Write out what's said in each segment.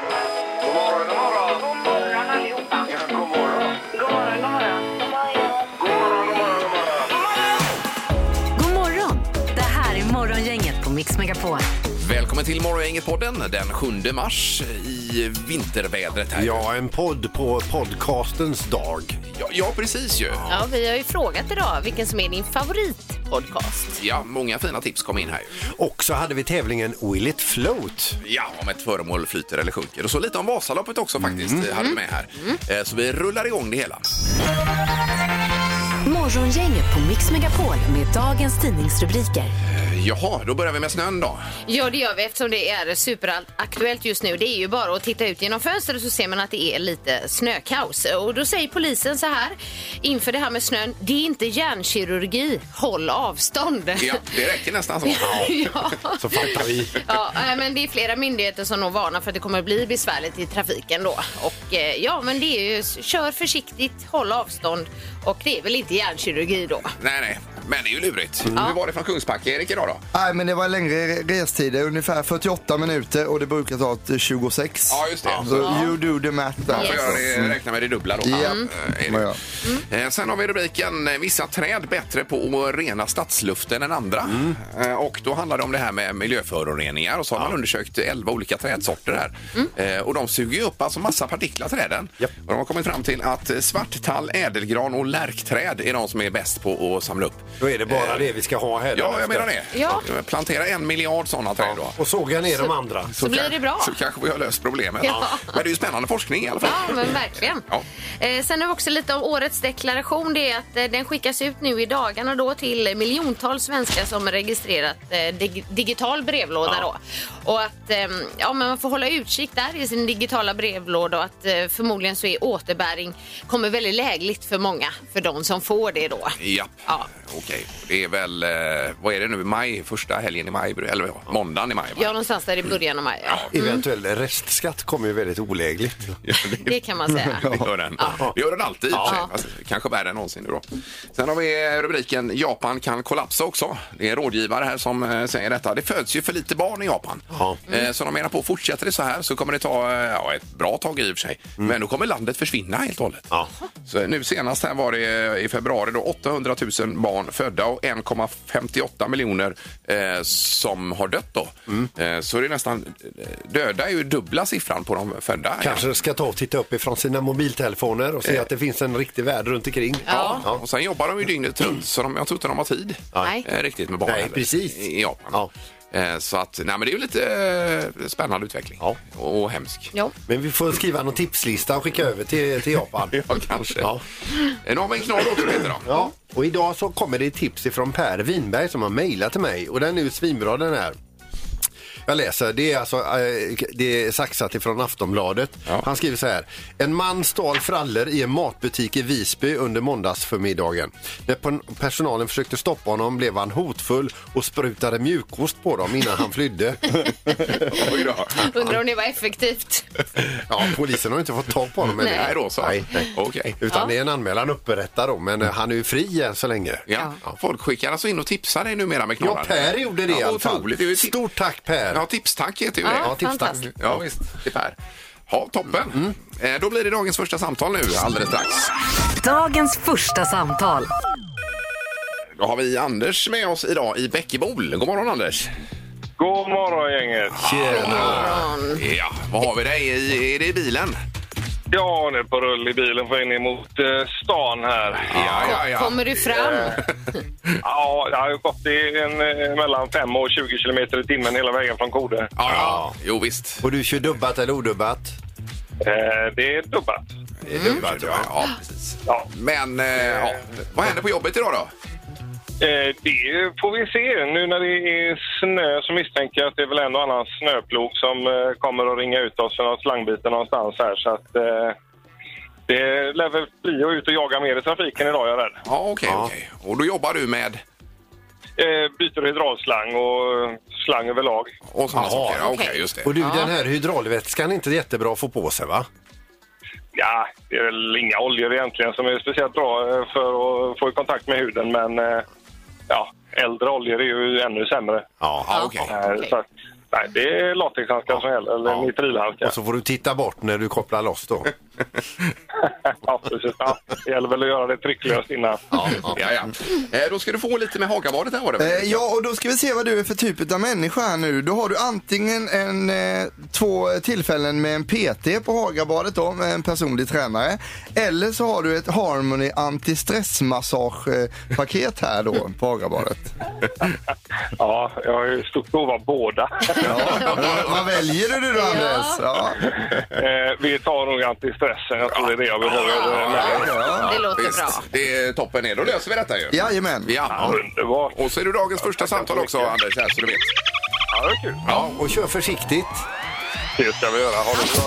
God morgon, god morgon. God morgon allihopa. Ja, god morgon. God morgon, god morgon. God morgon. God morgon, god morgon, god morgon. God morgon! Det här är Morgongänget på Mix Megapol. Välkommen till Morgongänget-podden den 7 mars i vintervädret här. Ja, en podd på podcastens dag. ja, ja, precis ju. Ja, vi har ju frågat idag vilken som är din favoritpodcast. Ja, många fina tips kom in här. ju. Och så hade vi tävlingen Will it float? Ja, om ett föremål flyter eller sjunker. Och så lite om Vasaloppet också faktiskt eh, hade vi med här. Eh, Så vi rullar igång det hela. Morgongänget på Mix Megapol med dagens tidningsrubriker. Eh, Jaha, då börjar vi med snön då. Ja, det gör vi eftersom det är superaktuellt just nu. Det är ju bara att titta ut genom fönstret så ser man att det är lite snökaos. Och då säger polisen så här inför det här med snön. Det är inte hjärnkirurgi. Håll avstånd. Ja, det räcker nästan så. Ja. Så fattar vi. Ja, eh, men det är flera myndigheter som nog varnar för att det kommer att bli besvärligt i trafiken då. Och eh, ja, men det är ju kör försiktigt, håll avstånd och det är väl inte hjärnkirurgi då. Nej, nej. Men det är ju lurigt. Hur var det från Kungsbacka, Erik, idag då? Nej, men det var längre restider, ungefär 48 minuter och det brukar ta ett 26. Ja, just det. Så Ja. you do the math Man där. Mm. får Yes. göra det, räkna med det dubbla då. Ja. Eh, är det. Ja, Eh, Sen har vi rubriken eh, Vissa träd bättre på att rena stadsluften än andra. Mm. Eh, Och då handlar det om det här med miljöföroreningar och så har man undersökt 11 olika trädsorter här. Eh, Och de suger ju upp alltså massa partiklar träden. Mm. Japp. Och de har kommit fram till att eh, svarttall, ädelgran och lärkträd är de som är bäst på att samla upp. Då är det bara det vi ska ha här. Eh, Ja, jag menar det. Ja. Eh, Plantera en miljard sådana träd då. Och såga ner de andra. Så blir det bra. Så kanske vi har löst problemet. Ja. Men det är ju spännande forskning i alla fall. Ja, men verkligen. Ja. Eh, sen har vi också lite om årets deklaration. Det är att eh, den skickas ut nu i dagarna då till miljontals svenskar som registrerat eh, dig digital brevlåda. Då. Och att eh, ja, men man får hålla utkik där i sin digitala brevlåda och att eh, förmodligen så är återbäring kommer väldigt lägligt för många, för de som får det då. Japp. Ja. Okej. Det är väl, eh, vad är det nu, maj? Första helgen i maj, eller ja, måndagen i maj? Ja, Va? någonstans där i början av maj. Ja. Eventuell restskatt kommer ju väldigt olägligt. Det kan man säga. Det gör den. Det gör den alltid. i och för sig. Alltså, Kanske värre än någonsin nu då. Sen har vi rubriken Japan kan kollapsa också. Det är rådgivare här som eh, säger detta. Det föds ju för lite barn i Japan. Ja. Eh, Så de menar på, fortsätter det så här så kommer det ta eh, ja, ett bra tag i och för sig. Men då kommer landet försvinna helt och hållet. Mm. Ja. Så nu senast här var det eh, i februari då 800 000 barn födda och 1,58 miljoner eh, som har dött då. Mm. Eh, så det är nästan, eh, döda är ju dubbla siffran på de födda. Kanske ska ta och titta upp ifrån sina mobiltelefoner och Eh. se att det finns en riktig värld runt omkring. Ja. Ja. Och sen jobbar de ju dygnet runt så de, jag tror inte de har tid Nej. eh, riktigt med barn. Nej, heller. precis. I Japan. Ja. Eh, Så att, nej men det är ju lite eh, spännande utveckling. Ja. Och, och hemsk. Jo. Men vi får skriva någon tipslista och skicka över till, till Japan. Ja, kanske. Ja. Eh, Nu har vi en knorr också Peter då. Ja, och idag så kommer det tips ifrån Per Winberg som har mejlat till mig och den är ju svinbra den här. Jag läser, det är alltså eh, det är saxat ifrån Aftonbladet. Ja. Han skriver så här. En man stal frallor i en matbutik i Visby under måndagsförmiddagen. När pon- personalen försökte stoppa honom blev han hotfull och sprutade mjukost på dem innan han flydde. Oj då. Undrar om det var effektivt. Ja, polisen har inte fått tag på honom ännu. Nej då så. Nej, nej. Okej. Utan det är en anmälan upprättad då, men eh, han är ju fri än så länge. Ja. Folk skickar alltså in och tipsar dig numera med Ja, knorrar. Per gjorde det i alla fall. Otroligt. Det är ju tip- Stort tack Per! Ja, tipstack heter ju det. Ja, tips, tack. fantastiskt. Ja, visst. Det är Per. Ja, toppen. Eh, Då blir det dagens första samtal nu alldeles strax. Dagens första samtal. Då har vi Anders med oss idag i Bäckebol. God morgon Anders! God morgon, gänget. Ja, vad har vi dig i? Är det i bilen? Ja, nu på rull i bilen får in emot eh, stan här. Ja, Kommer du fram? Ja, jag har ju gått i en, eh, mellan 5 och 20 kilometer i timmen hela vägen från Kode. Ja, ja. Jo, visst. Och du kör dubbat eller odubbat? Eh, det är dubbat. Dubbat, ja. ja precis. Ja. Mm. Men eh, ja. vad händer på jobbet idag då? Eh, det får vi se. Nu när det är snö så misstänker jag att det är väl en och annan snöplog som eh, kommer att ringa ut oss för någon slangbite någonstans här. Så att, eh, det lär väl bli att ut och jaga mer i trafiken idag, jag är jag rädd. Ja, okej, Ja. okej. Och då jobbar du med? Eh, byter hydraulslang och eh, slang överlag. Och såna Jaha, saker. Ja, Okej, okej. just det. Och du, den här hydraulvätskan är inte jättebra att få på sig va? Ja, det är väl inga oljor egentligen som är speciellt bra eh, för att få i kontakt med huden, men eh, ja, äldre oljor är ju ännu sämre. Ja, okej. Eh, Okej. Så att Nej, det är latexhandskar som gäller, eller Ja. nitrilhandskar. Och så får du titta bort när du kopplar loss då. Ja, precis. Ja, det gäller väl att göra det trycklöst innan. Ja, ja, ja. Eh, Då ska du få lite med Hagabadet här var det Eh, väl? ja, och då ska vi se vad du är för typ av människa här nu. Då har du antingen en, eh, två tillfällen med en PT på Hagabadet då, med en personlig tränare. Eller så har du ett Harmony antistressmassagepaket här då på Hagabadet. Ja, jag har ju stort behov av båda. Ja, vad- vad väljer du då Andres? Ja. Eh, vi tar nog antistressen. Jag tror det är det jag behöver. Men- Ja. Det låter Visst, bra. det är toppen. Är. Då löser vi detta ju. Jajamän. Ja. Underbart. Och så är det dagens första samtal också, Anders, här, så du vet. Ja, det är kul. Ja, och kör försiktigt. Det ska vi göra. Ha det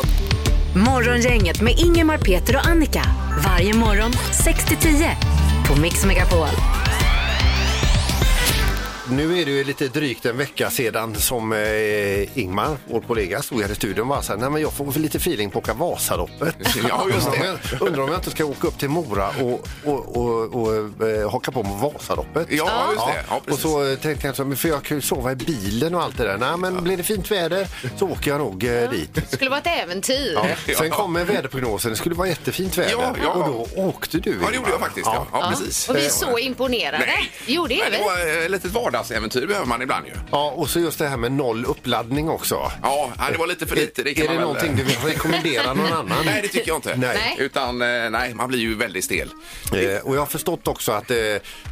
bra. Morgongänget med Ingemar, Peter och Annika. Varje morgon 6 till 10 på Mix Megapol. Nu är det ju lite drygt en vecka sedan som eh, Ingmar, vår kollega, stod här i studion och bara så här, nej men jag får lite feeling på att åka Vasaloppet. Ja, just det. Jag undrar om jag inte ska åka upp till Mora och, och, och, och eh, haka på med Vasaloppet. Ja, just det. Ja, och precis. så eh, tänkte jag, så här, men för jag kan ju sova i bilen och allt det där. Nej, men blir det fint väder så åker jag nog eh, dit. Det skulle vara ett äventyr. Ja. Sen kommer väderprognosen, det skulle vara jättefint väder. Ja, ja. Och då åkte du. Ja, det gjorde Ingmar. jag faktiskt. Ja, ja precis. Och vi är så imponerade. Nej. Jo, det är Men vi. det var eh, ett litet vardagsäventyr behöver man ibland ju. Ja, och så just det här med noll uppladdning också. Ja, nej, det var lite för lite. Det kan är man det väl- någonting du vill rekommendera någon annan? Nej, det tycker jag inte. Nej. Utan, eh, nej, man blir ju väldigt stel. Eh, och jag har förstått också att, eh,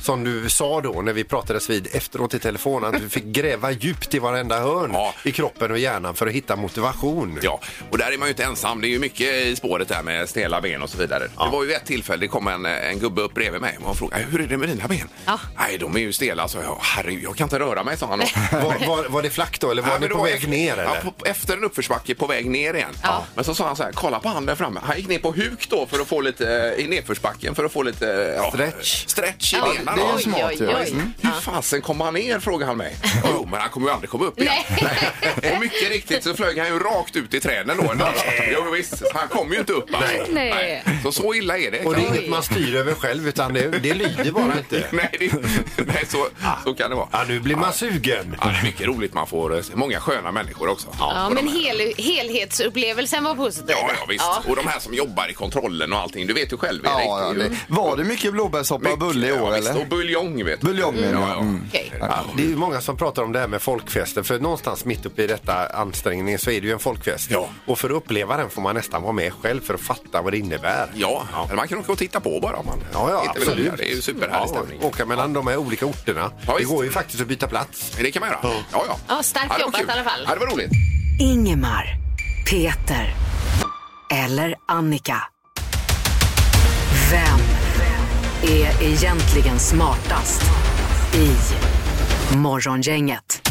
som du sa då när vi pratades vid efteråt i telefon, att du fick gräva djupt i varenda hörn Ja. i kroppen och hjärnan för att hitta motivation. Ja, och där är man ju inte ensam. Det är ju mycket i spåret där med stela ben och så vidare. Det var ju ett tillfälle, det kom en, en gubbe upp bredvid mig och han frågade hur är det med dina ben? Ja. Nej, de är ju stela, så jag. Herregud, jag kan inte röra mig, sa han. då. Var, var, var det flack då eller var Ja, ni men på då- väg ner? Ja, Eller? på, efter en uppförsbacke på väg ner igen. Ja. Men så sa han så här, kolla på han där framme. Han gick ner på huk då för att få lite, eh, i nedförsbacken för att få lite eh, ja, Stretch. stretch i Ja, benen. Det är då. ju smart ju. Oj, oj, oj. Hur fasen kom han ner, frågade han mig. Jo, men han kommer ju aldrig komma upp igen. Nej. Och mycket riktigt så flög han ju rakt ut i träden då. Jo, visst, han kom ju inte upp. Alltså. Nej. Så så illa är det. Och det är Oj. inget man styr över själv utan det, det lyder bara inte. Nej, det, nej så, så kan det vara. Ja, nu blir man sugen. Ja, det är mycket roligt. Man får eh, många sköna människor också. Ja, Och de men här- hel, helhetsupplevelsen var positiv. Ja, ja visst. Ja. Och de här som jobbar i kontrollen och allting. Du vet ju själv, Erik. Ja, ja, Det är ju det. Var det mycket blåbärssoppa och bulle i ja, år visst. eller? Och buljong, vet du. Buljong, ja. menar ja. jag. Mm. Okej. Det är ju många som pratar om det här med folkfesten för någonstans mitt uppe i detta ansträngning så är det ju en folkfest. Ja. Och för att uppleva den får man nästan vara med själv för att fatta vad det innebär. Ja, men man kan åka och titta på bara om man Ja, ja, inte vill absolut. åka. Det är ju superhärlig Ja, stämning. åka mellan de här olika orterna. Ja, det visst. går ju faktiskt att byta plats. Men Det kan man göra. Ja, ja. Ja, starkt det var jobbat kul. i alla fall. Ja, det var roligt. Ingemar, Peter eller Annika. Vem är egentligen smartast i Morgongänget?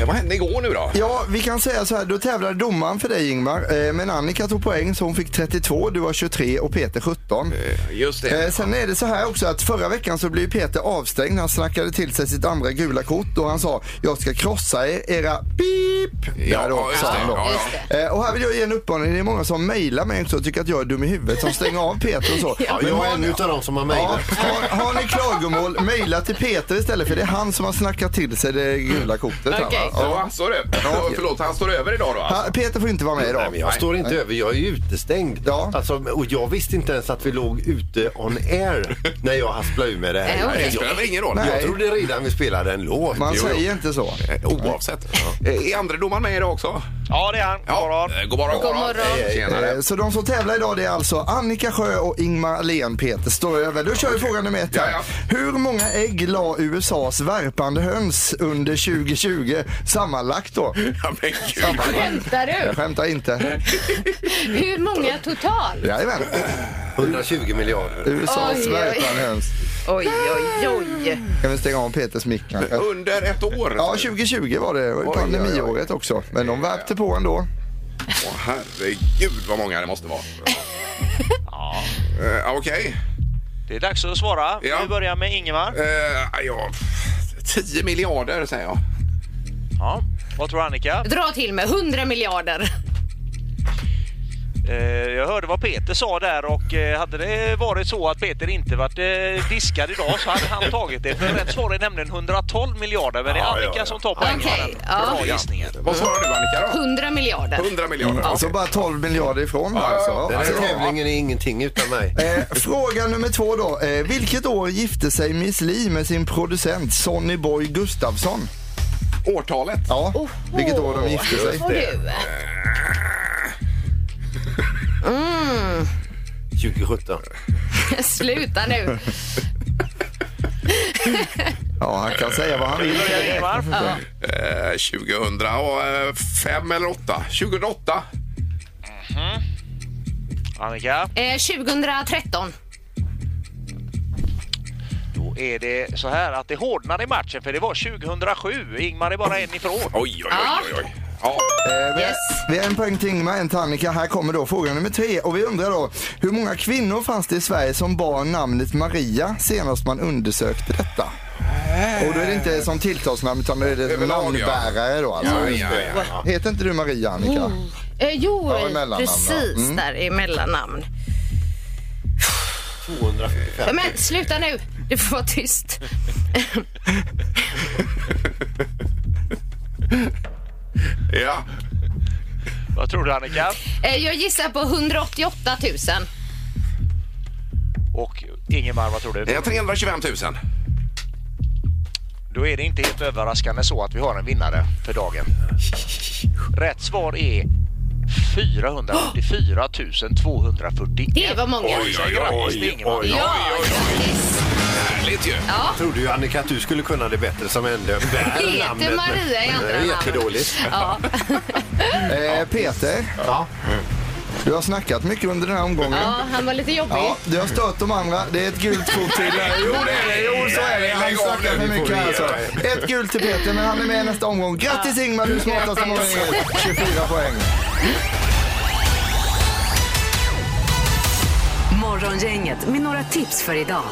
Eh, Vad hände igår nu då? Ja, vi kan säga så här, då tävlade domaren för dig Ingmar. Eh, Men Annika tog poäng så hon fick 32, du har 23 och Peter 17. Just Eh, det. Sen är det så här också att förra veckan så blev Peter avstängd. Han snackade till sig sitt andra gula kort då han sa jag ska krossa er, era pip. Ja, Där då, just sa det. han då. Ja, ja. Just Eh, Och här vill jag ge en uppmaning. Det är många som mejlar mig också och tycker att jag är dum i huvudet som stänger av Peter och så. Ja, Men jag har är en ni- utav dem som har Ja, mejlat. har, har ni klagomål, mejla till Peter istället för det är han som har snackat till sig det gula kortet. här, va? Okej. Ja, han står över. Ja, förlåt, han står över idag då? Alltså. Ha- Peter får inte vara med Nej, men idag. jag står inte över, jag är ju utestängd. Ja. Alltså, och jag visste inte ens att vi låg ute on air när jag hasplade ur med det Nej, här. Nej, det spelar väl ingen roll? Nej. Jag trodde redan vi spelade en låt. Man Jo, jo. säger inte så. Eh, Oavsett. Eh, Är andre domaren med idag också? Ja, det är han. God morgon. eh, god morgon. God morgon. Hej, hej. Tjenare. Eh, Så de som tävlar idag det är alltså Annika Sjö och Ingmar Ahlén Peter står över. Då kör vi fråga nummer ett här. Ja, Hur många ägg la USAs värpande höns under 2020 sammanlagt då? Ja, men gud. Skämtar du? Jag skämtar inte. Hur många totalt? Jajamän. 120 miljarder. USAs Oj, oj. värpande höns. Oj, oj, oj. Kan vi stänga av Peters mick kanske? Under ett år? Ja, 2020 var det. Det var ju Oj, oj, oj. pandemiåret också. Men de värpte på ändå. Åh, herregud vad många det måste vara. ja. Okej. Det är dags att svara. Ja. Vi börjar med Ingemar. Eh, ja, 10 miljarder säger jag. Ja. Vad tror Annika? Dra till med 100 miljarder. Eh, Jag hörde vad Peter sa där och eh, hade det varit så att Peter inte varit eh, diskad idag så hade han tagit det. För rätt svar är nämligen 112 miljarder men det är Ja, Annika ja, ja. som tar poängen. Okej, Okay, ja. Bra gissningen. Vad svarar du Annika då? 100 miljarder. 100 miljarder. Alltså Okej. bara 12 miljarder ifrån ja, alltså. ja, Den det här är bra. tävlingen är ingenting utan mig. Eh, fråga nummer två då. Eh, vilket år gifte sig Miss Li med sin producent Sonny Boy Gustafsson? Årtalet? Ja, vilket år de gifte sig. Åh, du. 2017. Ah. Sluta nu. Ja, han kan säga vad han vill. Börjar Ingemar. Eh, 2005 eller 8? 2008? Annika, Eh, 2013. då är det så här att det hårdnar i matchen för det var 2007. Ingmar är bara en ifrån. Oj, oj, oj. oj, oj. Ja. Eh, vi- Yes. Vi har en poäng till Ingmar, en till Annika. Här kommer då fråga nummer tre. Och vi undrar då, hur många kvinnor fanns det i Sverige som bar namnet Maria senast man undersökte detta? Och då är det inte som tilltalsnamn utan då är det som Äh. Överlag, ja. namnbärare då alltså. Ja, ja, ja, ja. Heter inte du Maria Annika? Eh, jo, Ja, i mellannamn, precis ja. Mm. där i mellannamn. 245. Men sluta nu. Du får vara tyst. ja. Vad tror du Annika? Eh, jag gissar på 188 000. Och Ingemar, vad tror du? Eh, 325 000. Då är det inte helt överraskande så att vi har en vinnare för dagen. Rätt svar är 484 241. Det var många. Vi säger grattis till Ingemar. Ja, grattis. Härligt ju. Jag trodde ju Annika att du skulle kunna det bättre som ändå Peter bär namnet. Maria i andra Det är namn. jättedåligt. Ja. Mm. Eh, Peter, Ja. du har snackat mycket under den här omgången. ja, han var lite jobbig. Ja, du har stört de andra. Det är ett gult kort till. Jo, det är det. Jo, så är det. Han snackar för mycket här, alltså. Ett gult till Peter, men han är med nästa omgång. Grattis Ingmar, du är smartast i morgongänget. 24 poäng. Morgongänget med några tips för idag.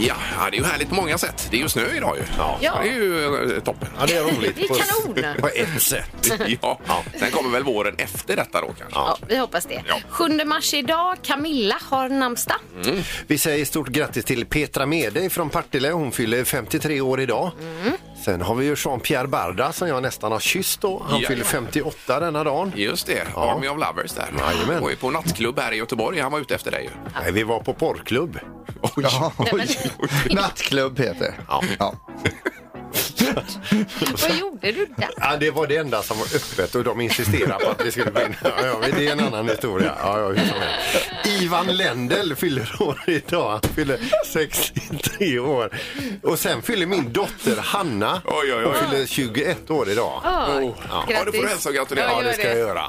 Ja, ja, det är ju härligt på många sätt. Det är ju snö idag ju. Ja. Det är ju eh, toppen. ja, det är roligt. Det är kanon. På ett sätt. Ja. Sen kommer väl våren efter detta då kanske. Ja, Mm. vi hoppas det. 7 mars idag. Camilla har namnsdag. Vi säger stort grattis till Petra Mede från Partille. Hon fyller 53 år idag. Sen har vi ju Jean-Pierre Barda som jag nästan har kysst då. Han Ja. fyller 58 denna dagen. Just det, Ja. Army of Lovers där. Jajamän. var ju på nattklubb här i Göteborg. Han var ute efter dig ju. Nej, vi var på porrklubb. Jaha, men- oj, oj. Nattklubb Peter. Ja. Vad gjorde du där? Ja, det var det enda som var öppet och de insisterade på att vi skulle gå in. Ja, ja, men det är en annan historia. Ja, ja, hur som helst. Ivan Lendl fyller år idag. Han fyller 63 år. Och sen fyller min dotter Hanna. Oj, oj, oj. Hon fyller 21 år idag. Ja, Ja, du får hälsa och gratulera. Ja, Ja, det ska jag det. göra.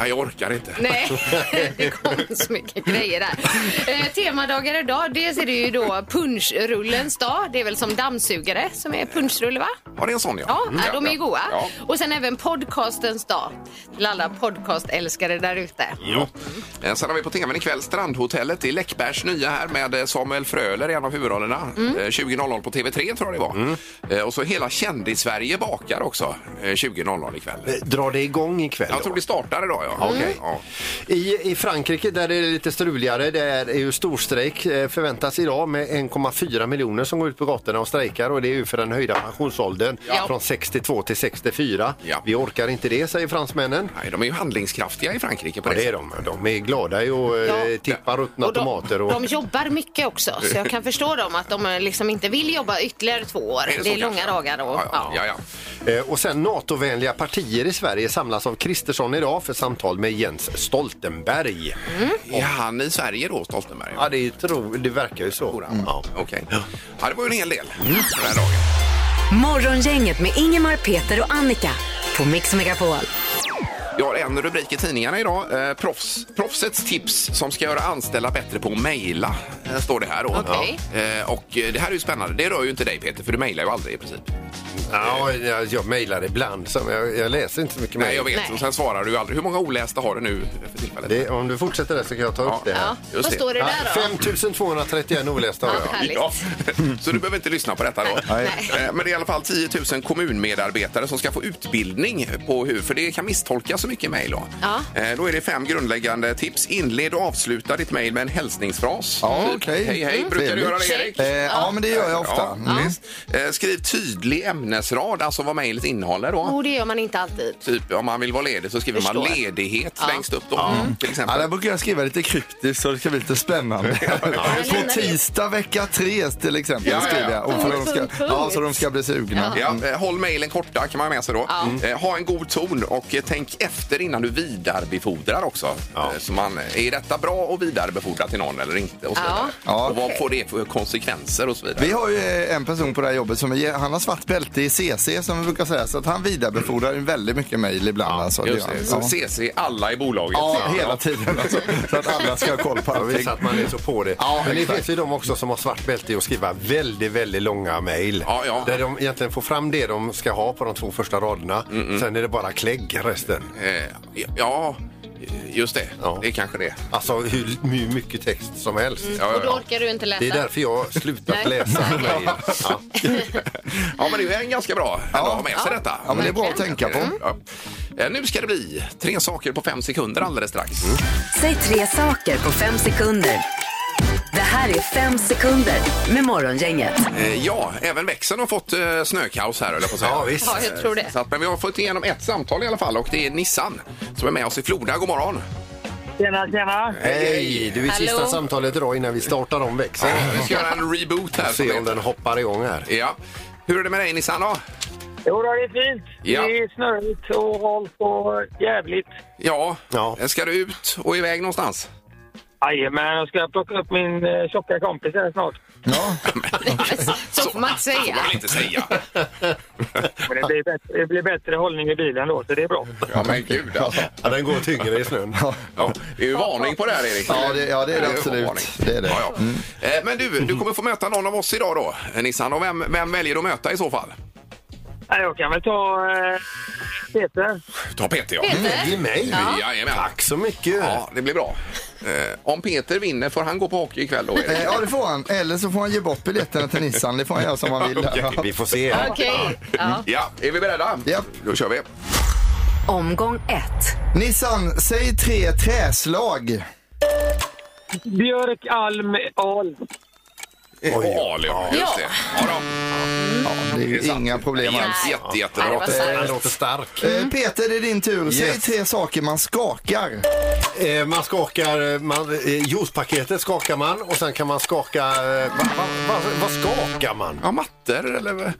Nej, jag orkar inte. Nej, det kom så mycket grejer där. Eh, temadagar idag, dels är det ju då punschrullens dag. Det är väl som dammsugare som är punschrulle va? Har det en sån ja? Ja, Mm. ja, de är goa. Ja. Och sen även podcastens dag. Till alla podcastälskare där ute. Ja. Eh, Sen har vi på tvn ikväll Strandhotellet. Det är Läckbergs nya här med eh, Samuel Fröler i en av huvudrollerna. Mm. 20.00 på TV3 tror jag det var. Mm. Eh, Och så hela Kändis-Sverige bakar också eh, 20.00 ikväll. Dra Eh, det igång ikväll. Jag då. tror det startar idag ja. Okej. Ja. I, I Frankrike där är det lite struligare. Där är ju storstrejk eh, förväntas idag med 1,4 miljoner som går ut på gatorna och strejkar och det är ju för den höjda pensionsåldern Ja. från 62 till 64. Ja. Vi orkar inte det säger fransmännen. Nej, de är ju handlingskraftiga i Frankrike på Ja, det det är de. De är glada i och Ja. eh, tippar ruttna Och de, tomater. Och... de jobbar mycket också, så jag kan förstå dem att de liksom inte vill jobba ytterligare två år. så Det är kanske? långa dagar och... Ja, ja, ja, ja. Eh, och sen NATO-vänliga partier i Sverige samlas av Kristersson idag för samtal med Jens Stoltenberg. Är han i Sverige då, Stoltenberg? Ja, det, tror, det verkar ju så. Ja. Okej. Ja, det var ju en hel del den här dagen. Morgongänget med Ingemar, Peter och Annika på Mix Megapol. Jag har en rubrik i tidningarna idag. Eh, proffs, proffsets tips som ska göra anställda bättre på att mejla, eh, står det här då. Okej. Ja. Eh, och eh, det här är ju spännande. Det rör ju inte dig Peter, för du mejlar ju aldrig i princip. Ja, jag, jag mejlar ibland. Så jag, jag läser inte så mycket Nej, jag mejl. vet. Nej. Och sen svarar du ju aldrig. Hur många olästa har du nu för tillfället? Det, om du fortsätter där så kan jag ta upp det här. Ja. Just Vad det. står det där då? 5231 olästa har Ja, jag. härligt. Ja. Så du behöver inte lyssna på detta då. Nej. Eh, Men det är i alla fall 10 000 kommunmedarbetare som ska få utbildning på hur, för det kan misstolkas så mycket mejl då. Ja. Eh, Då är det fem grundläggande tips. Inled och avsluta ditt mejl med en hälsningsfras. Ja, Typ, okej. Hej, hej. Mm. Brukar du Trevligt. göra det, Erik? Eh, ja, men det gör jag ofta. Mm. Ja, visst. Eh, Skriv tydlig ämnesrad, alltså vad mejlet innehåller då. Oh, det gör man inte alltid. Typ om man vill vara ledig så skriver man Förstår. Mm. ledighet längst upp då. Till Ja, exempel. där brukar jag skriva lite kryptiskt så det ska bli lite spännande. På tisdag vecka tre till exempel Ja, ja, ja. skriver jag. Och för de ska, Punkt, punkt. ja, så de ska bli sugna. Ja, eh, håll mejlen korta kan man ha med sig då. Eh, Ha en god ton och eh, tänk efter innan du vidarebefordrar också. Ja. Eh, Så man, eh, är detta bra att vidarebefordra till någon eller inte? Och, så Ja. vidare. Ja. och vad får det för konsekvenser och så vidare. Vi har ju eh, en person på det här jobbet som är, han har svart bälte i CC som vi brukar säga. Så att han vidarebefordrar ju väldigt mycket mejl ibland. alltså, det Just gör det. han. Så CC alla i bolaget. Ja. Ja, hela tiden alltså, Så att alla ska ha koll på Ja, visst allting. att man är så på det. Ja, Men det exakt. finns ju de också som har svart bälte i att skriva väldigt, väldigt långa mejl. Ja, ja. Där de egentligen får fram det de ska ha på de två första raderna. Sen är det bara klägg resten. Eh, Ja, just det. Ja. Det är kanske det. Alltså hur, hur mycket text som helst. Ja, Och då ja, orkar du inte läsa. Det är därför jag slutat Nej. läsa mejl. Ja. ja. ja, men det är en ganska bra ändå att ha med sig detta. Ja, men det är bra att tänka på. Ja. Eh, Nu ska det bli tre saker på fem sekunder alldeles strax. Mm. Säg tre saker på fem sekunder. Det här är fem sekunder med Morgongänget. Eh, Ja, även växeln har fått eh, snökaos här höll jag på att säga. Ja, visst. Ja, jag tror det. Så att, men vi har fått igenom ett samtal i alla fall och det är Nissan som är med oss i Floda. God morgon! Tjena, tjena. Hej! Du är sista Hallå. samtalet idag innan vi startar om växeln. Eh, Vi ska göra en reboot här. som Se om heter. den hoppar igång här. Ja. Hur är det med dig Nissan då? Jo, då, det är fint. Ja. Det är snöigt och halt och jävligt. Ja. Eh, Ja. ska du ut och iväg någonstans? Jajamän, jag ska plocka upp min eh, tjocka kompis här snart. Så får man inte Det får säga. man väl inte säga. Men det, blir bättre, det blir bättre hållning i bilen då, så det är bra. Ja, men gud alltså. Ja, den går tyngre i snön. Ja, det är ju varning på det här Erik. Ja, det- ja, det är det ju absolut. varning. Det Mm. är det. Ja, ja. Eh, Men du, du kommer få möta någon av oss idag då, eh, Nissan. Och vem, vem väljer du att möta i så fall? Nej, Jag kan väl ta eh, Peter. Ta Peter ja. Mm. Det är mig. Jajamän. Tack så mycket. Ja, det blir bra. Eh, om Peter vinner får han gå på hockey ikväll då? Eh, Erik? Ja, det får han. Eller så får han ge bort biljetterna till Nissan. Det får han göra som han vill. Okej. Vi får se. Okej. Ja. Ja, är vi beredda? Japp. Då kör vi. Omgång ett. Nissan, säg tre träslag. Björk, Alm, Ahl. Oj, Ali, ja. Just det. Ja, då. Ja, det är ju Det är sant. inga problem Jätte- alls. Jätte, Nej, det jättebra. var sant. Han låter stark. Eh, Peter, det är din tur. Säg Yes. tre saker man skakar. Eh, man skakar, eh, man, eh, juicepaketet skakar man och sen kan man skaka, eh, va, va, va, vad skakar man? Ja, mattor eller?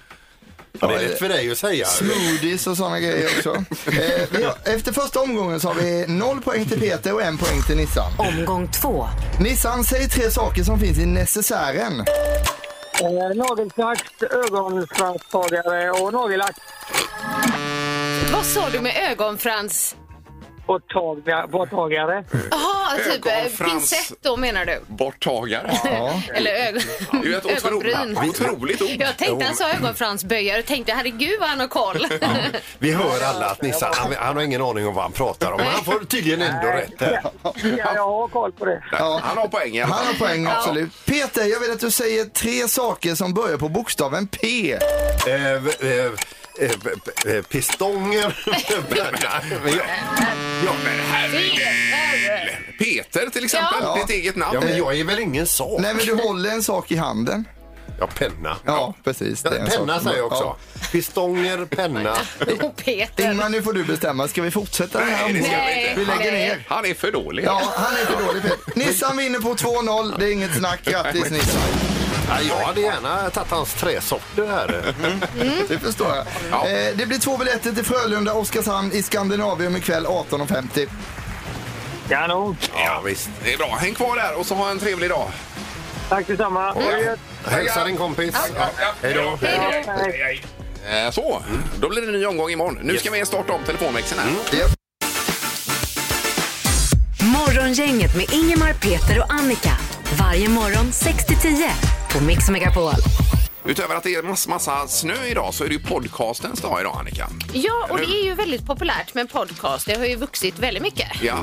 Ja, eh, det är lätt för dig att säga. Smoothies och sådana grejer också. Eh, vi har, efter första omgången så har vi noll poäng till Peter och en poäng till Nissan. Omgång två. Nissan, säg tre saker som finns i necessären. Eh, Nagelsax, ögonfranstagare och nagellack. Vad sa du med ögonfrans? Borttaga- Borttagare. Jaha, typ eh, Ögonfrans. pincett då menar du? Borttagare. Ja. Eller ögon... Det är ju ett ögonbryn. otroligt, otroligt ord. Jag tänkte han sa ögonfransböjare och tänkte herregud vad han har koll. Vi hör alla att Nissa, han, han har ingen aning om vad han pratar om. Men han får tydligen ändå rätt här. Ja, jag har koll på det. Ja. Han har poäng i alla Han fall. har poäng, absolut. Peter, jag vill att du säger tre saker som börjar på bokstaven P. Eh, eh, eh, p- eh, Pistonger. Men jag- Ja, men herregud! Peter till exempel, Ja. ditt eget namn. Ja, men jag är väl ingen sak? Nej, men du håller en sak i handen. Ja, penna. Ja, precis. det är en Penna sak. säger jag också. Pistonger, penna. Och Ja. Peter. Ingmar, nu får du bestämma. Ska vi fortsätta den här Nej, det ska omgången? vi inte. Vi lägger Nej. ner. Han är för dålig. Ja, han är för dålig Peter. Nissan vinner på 2-0. Det är inget snack. Grattis Nissan. Ja, jag hade gärna tagit hans träsorter här. Det förstår jag. Ja. Eh, det blir två biljetter till Frölunda, Oskarshamn i Skandinavium ikväll 18.50. Kanon. Ja, visst. Det är bra. Häng kvar där och så ha en trevlig dag. Tack detsamma. Mm. Ha det gött. Hälsa din kompis. Ja. Hej då. Eh, Så, då blir det en ny omgång imorgon. Nu ska vi starta om telefonväxeln här. Morgongänget med Ingemar, Peter och Annika. Varje morgon 6-10 på Mix Megapol. Utöver att det är massa, massa snö idag så är det ju podcastens dag idag, Annika. Ja, och det är ju väldigt populärt med podcast. Det har ju vuxit väldigt mycket. Ja,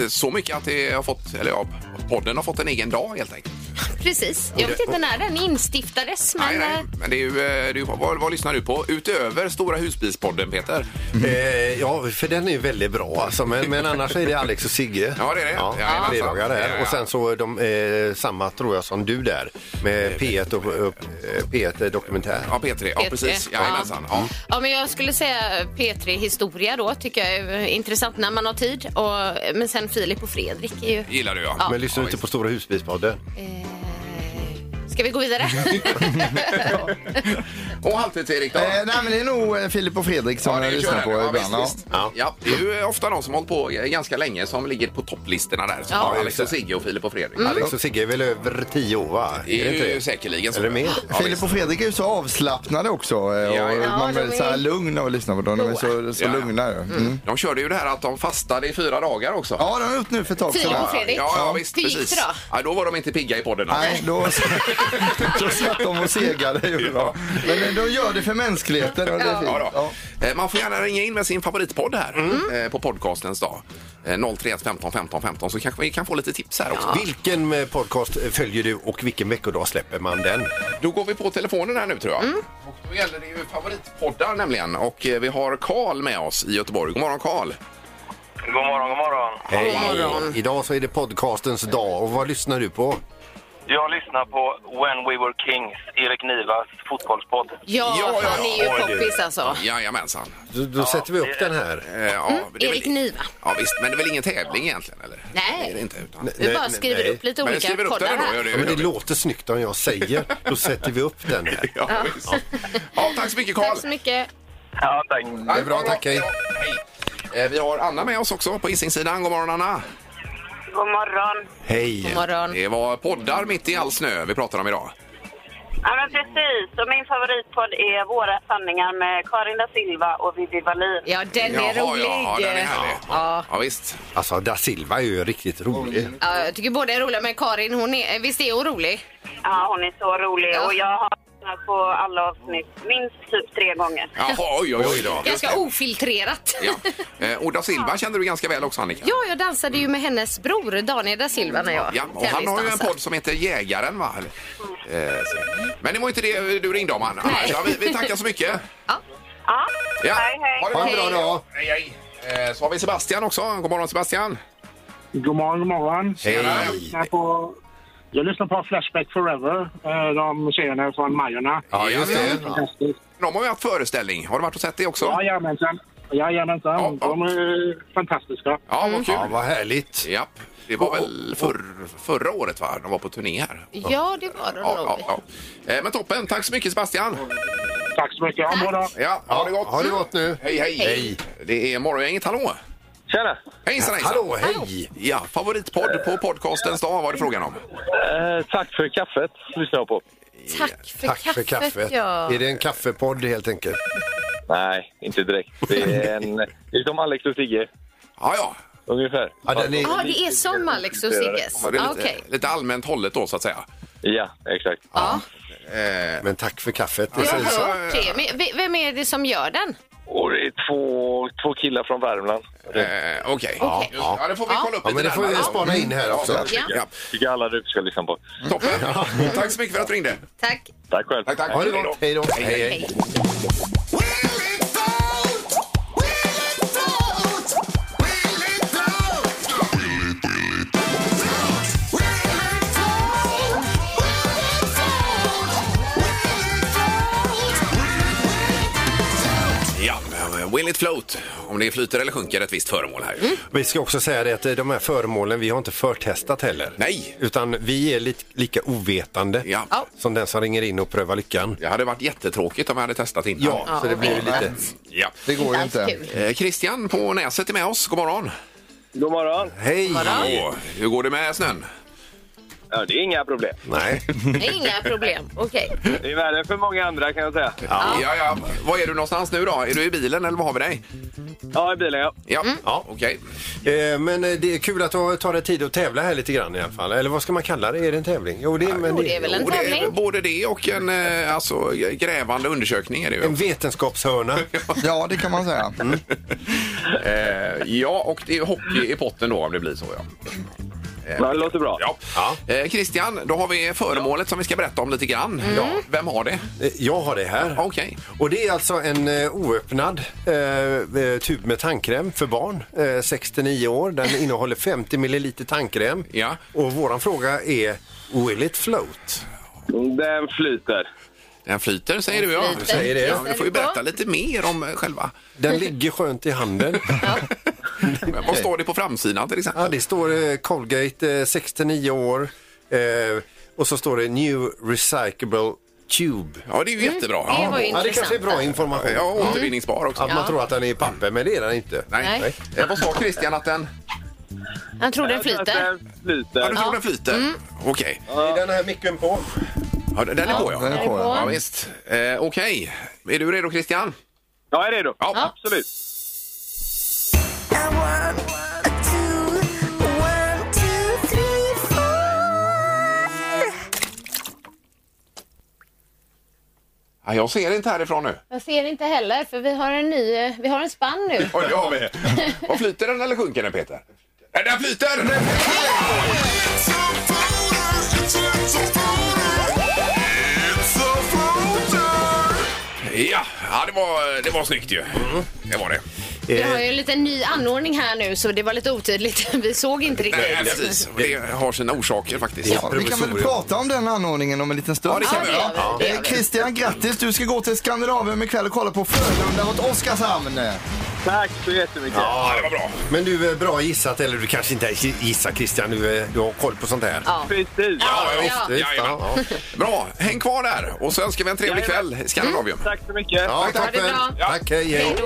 eh, så mycket att det har fått, eller ja, podden har fått en egen dag helt enkelt. Precis. Jag vet inte när den instiftades, men... Nej, nej, men det är ju, eh, det är ju vad, vad lyssnar du på utöver Stora husbilspodden, Peter? Eh, ja, för den är ju väldigt bra alltså, men, men annars är det Alex och Sigge. Ja, det är det. Ja, Jajamensan. fredagar där. Ja, ja, ja. Och sen så de, eh, samma tror jag som du där med P1 och, och eh, P1 Dokumentär. Ja, P3. Ja, P3. precis. Ja. Mm. Jajamensan. Ja. Ja, men jag skulle säga P3 Historia då, tycker jag är intressant när man har tid. Och, men sen Filip och Fredrik är ju... Gillar du, ja. Men lyssnar du visst. inte på Stora husbilspodden? Mm. Eh, ska vi gå vidare? Och halvtids Erik då? Eh, nej, men det är nog eh, Filip och Fredrik som det jag är lyssnar kul. på ja, ibland. Ja. Visst, visst. Ja. det är ju ofta de som hållit på ganska länge som ligger på topplistorna där. Ja. Som har Alex och Sigge och Filip och Fredrik. Alex och Sigge är väl över tio år va? Det är inte ju säkerligen så. Eller mer. Ja, Filip och Fredrik är ju så avslappnade också. eh, Och Ja, ja. Man Ja, blir de är- så här lugn och lyssnar på dem. De är så, så Ja, ja. lugna. ju. Mm. De körde ju det här att de fastade i fyra dagar också. Ja, de har gjort nu för ett tag Filip sedan. och Fredrik. Ja, ja visst. Hur gick det precis. då? Ja, då var de inte pigga i podden. alltså. Nej, då, då satt de och segade. gjorde de. Men eh, de gör det för mänskligheten. Och det är Ja, fint. då. Eh, Man får gärna ringa in med sin favoritpodd här eh, på podcastens dag. Eh, 031 15 15 15 så kanske vi kan få lite tips här också. Vilken eh, podcast följer du och vilken veckodag släpper man den? Då går vi på telefonen här nu tror jag. Och då gäller det ju favoritpoddar nämligen. Och eh, vi har Karl med oss i Göteborg. God morgon Karl! God morgon, god morgon. Hej! Idag så är det podcastens dag och vad lyssnar du på? Jag lyssnar på When We Were Kings, Erik Nivas fotbollspodd. Ja, Ja, ja, han är ju ja, du. poppis alltså. Jajamensan. Då, då sätter vi upp den här. Eh, ja, det är Mm. Erik väl, Niva. ja visst, men det är väl ingen tävling egentligen eller? Nej. Det är det inte. Utan... Nej, Vi bara nej, skriver nej. upp lite Men jag olika skriver upp poddar den då. här. Gör det, Ja, men gör det. det låter snyggt om jag säger. Då sätter vi upp den här. Ja, visst. ja, tack så mycket Karl! Tack så mycket. Ja, tack. Ja, Det är bra, tack, hej. Hej. Eh, Vi har Anna med oss också på Hisingssidan. God morgon Mm. Anna! God morgon. Hej! God morgon. Det var poddar mitt i all snö vi pratar om idag. Ja, men precis. Och min favoritpodd är Våra sanningar med Karin da Silva och Vivi Wallin. Ja, den är Jaha, rolig. Ja, den är härlig. Ja. Ja, visst. Alltså, da Silva är ju riktigt rolig. Mm. Ja, jag tycker båda är roliga, men Karin, hon är, visst är hon rolig? Ja, hon är så rolig. Ja. Och jag har lyssnat på alla avsnitt minst typ tre gånger. Jaha, oj, oj, oj. då. Ganska ofiltrerat. Ja. Eh, Och da Silva kände du ganska väl också, Annika. Ja, jag dansade ju med hennes bror Daniel da Silva när jag Ja, och han har ju en tävlingsdansade. podd som heter Jägaren, va? Eh, så. Men det var inte det du ringde om, Anna. Nej. Ja, vi, vi tackar så mycket. Ja, Ja. hej hej. Ha det Ha bra. en bra dag! Hej, hej. Eh, Så har vi Sebastian också. God morgon, Sebastian. God morgon, god morgon. Ehm, Hej! lyssnar på, jag lyssnar på Flashback Forever, eh, de serierna från Majorna. Ja, just det. Fantastiskt. De har ju haft föreställning. Har du varit och sett det också? Jajamensan. Jajamensan. Ja, ja. De är fantastiska. Ja, vad Mm. Ja, kul. vad härligt. Ja, det var väl förr, förra året, va? De var på turné här. Ja, det var hon Ja, nog. ja, ja. Eh, Men toppen. Tack så mycket, Sebastian. Tack så mycket. Ha en bra dag. Ja, ha det gott. Ha det gott nu. Hej, hej. Hej. Det är Morgongänget, hallå! Tjena! Hejsan, hejsan! Hallå, hej! Ja, favoritpodd på podcastens dag var det frågan om. Eh, tack för kaffet, lyssnar jag på. Tack för Tack kaffet. för kaffet. Ja. Är det en kaffepodd helt enkelt? Nej, inte direkt. Det är, en, det är som Alex och Sigge, Ja, ja. ungefär. Ja, den är... Ja, det är som Alex och Sigges. Så det är Ja, Ah, lite, Okej. lite allmänt hållet då, så att säga. Ja, exakt. Ja, Eh, Men tack för kaffet. jag har precis. hört det. Men v- vem är det som gör den? Och det är två, två killar från Värmland. eh, Okej. Ja, just- ja, det får vi Ja. kolla upp Ja, men det får vi närmare. spana in här också. Ja. Ja, Tycker alla du ska lyssna på. toppen. Tack så mycket för att du ringde. Tack. Tack själv. Tack, tack. Ha det gott. Hej då. Hej, hej. Hej. Ja, eh, will it float? Om det flyter eller sjunker ett visst föremål här. Vi ska också säga det att eh, de här föremålen, vi har inte förtestat heller. Nej. Utan vi är lite, lika ovetande Ja. Ja. som den som ringer in och prövar lyckan. Det hade varit jättetråkigt om jag hade testat innan. Ja, så det blir lite... ja. Det går ju Allt inte. kul. Eh, Christian på Näset är med oss. God morgon. God morgon. Hej! Åh, hur går det med snön? Ja, det är inga problem. Nej. Det är Inga problem. Okej. Det är värre för många andra kan jag säga. Ja. ja, Var är du någonstans nu då? Är du i bilen eller var har vi dig? Ja, i bilen ja. Ja, ja okej. Eh, Men eh, det är kul att du tar dig tid att tävla här lite grann i alla fall. Eller vad ska man kalla det? Är det en tävling? Jo, det, är- men jo, det är väl en Och det är tävling. både det och en eh, alltså, grävande undersökning är det en ju. vetenskapshörna. Ja, det kan man säga. Mm. Eh, ja, och det är hockey i potten då om det blir så. Ja. Ja, det låter bra. Ja. Eh, Christian, då har vi föremålet som vi ska berätta om lite grann. Mm. Ja. Vem har det? Eh, Jag har det här. Okej. Och det är alltså en eh, oöppnad eh, eh, tub med tandkräm för barn, eh, 6-9 år. Den innehåller 50 milliliter tandkräm. Ja. Och våran fråga är, will it float? Den flyter. Den flyter säger du ja. Den flyter. Säger det. ja du får ju berätta lite mer om eh, själva. Den ligger skönt i handen. Men Vad står det på framsidan till exempel? Ja, det står eh, Colgate, eh, 6-9 år. Eh, och så står det New Recyclable Tube. Ja, det är ju jättebra. Mm. Det var ju Mm. Ja, det kanske är intressant. bra information. Ja, återvinningsbar också. Att man tror att den är i papper, men det är den inte. Nej. Nej. Eh, vad sa Christian att den... Han tror den flyter. Den flyter. Ja, du tror den flyter? Mm. Okej. Det är den här micken på. Ja, den är på ja. den är på, ja. ja. visst. Eh, Okej. Är du redo Christian? Ja, är det då? Ja. Absolut. Ja, jag ser inte härifrån nu. Jag ser inte heller för vi har en ny, eh, vi har en spann nu. Oj, det har vi. Vad flyter den eller sjunker den Peter? Nej, den flyter! Den flyter! Ja, ja det, var, det var snyggt ju. Det var det. Vi har ju en liten ny anordning här nu så det var lite otydligt. Vi såg inte Nej, riktigt. precis. Och Det har sina orsaker faktiskt. Ja, vi kan väl prata om den anordningen om en liten stund. Ja, det kan Ja, vi det göra. gör vi. Det Eh, gör vi. Christian, grattis! Du ska gå till Skandinavien ikväll och kolla på Frölunda mot Oskarshamn. Tack så jättemycket. Ja, det var bra. Men du, är bra gissat, eller du kanske inte gissar Christian, du, eh, du har koll på sånt här. Ja. Precis. Ja, ja, Ja. visst, visst, ja, ja. Bra, häng kvar där och så önskar vi en trevlig kväll i Skandinavium. Tack så mycket. Ja, Ha tack det väl. bra. Tack, hej, hej. Hej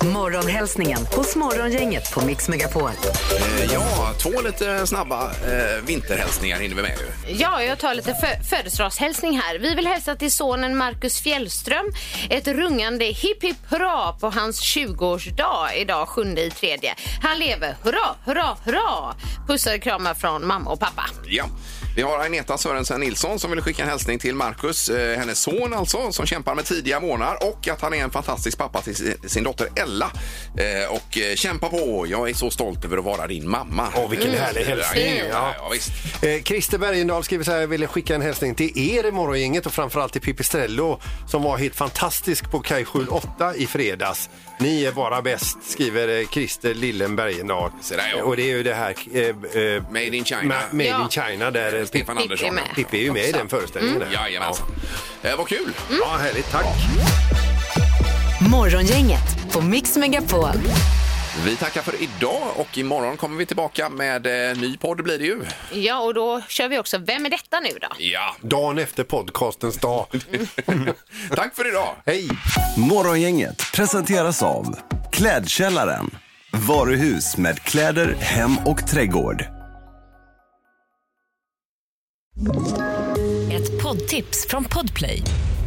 då. Morgonhälsningen hos Morgongänget på Mix Megapol. Eh, Ja, två lite snabba eh, vinterhälsningar hinner vi med nu. Ja, jag tar lite fö- födelsedagshälsning här. Vi vill hälsa till sonen Marcus Fjällström ett rungande hipp hipp hurra på hans 20-årsdag idag, 7 i tredje. Han lever, hurra, hurra, hurra! Pussar och kramar från mamma och pappa. Ja. Vi har Agneta Sörensen Nilsson som vill skicka en hälsning till Marcus, eh, hennes son alltså, som kämpar med tidiga månader och att han är en fantastisk pappa till si- sin dotter Ella. Eh, och eh, kämpa på, jag är så stolt över att vara din mamma. Mm. Åh, vilken härlig hälsning. Ja, ja, visst. Eh, Christer Bergendahl skriver så här, jag ville skicka en hälsning till er i morgongänget och framförallt till Pipistrello som var helt fantastisk på Kaj 8 i fredags. Ni är bara bäst, skriver eh, Christer Lillen Bergendahl. Så där, ja. Eh, Och det är ju det här... Eh, eh, Made in China. Ma- Made Ja. in China där eh, Pippi- Stefan Mm. Pippi Andersson. med. Pippi är ju med i den föreställningen. där. Jajamensan. Eh, vad kul! Ja, härligt. Tack. Morgongänget på Mix Megapol. Vi tackar för idag och imorgon kommer vi tillbaka med eh, ny podd blir det ju. Ja, och då kör vi också Vem är detta nu då? Ja. Dagen efter podcastens dag. Tack för idag! Hej! Morgongänget presenteras av Klädkällaren. Varuhus med kläder, hem och trädgård. Ett poddtips från Podplay.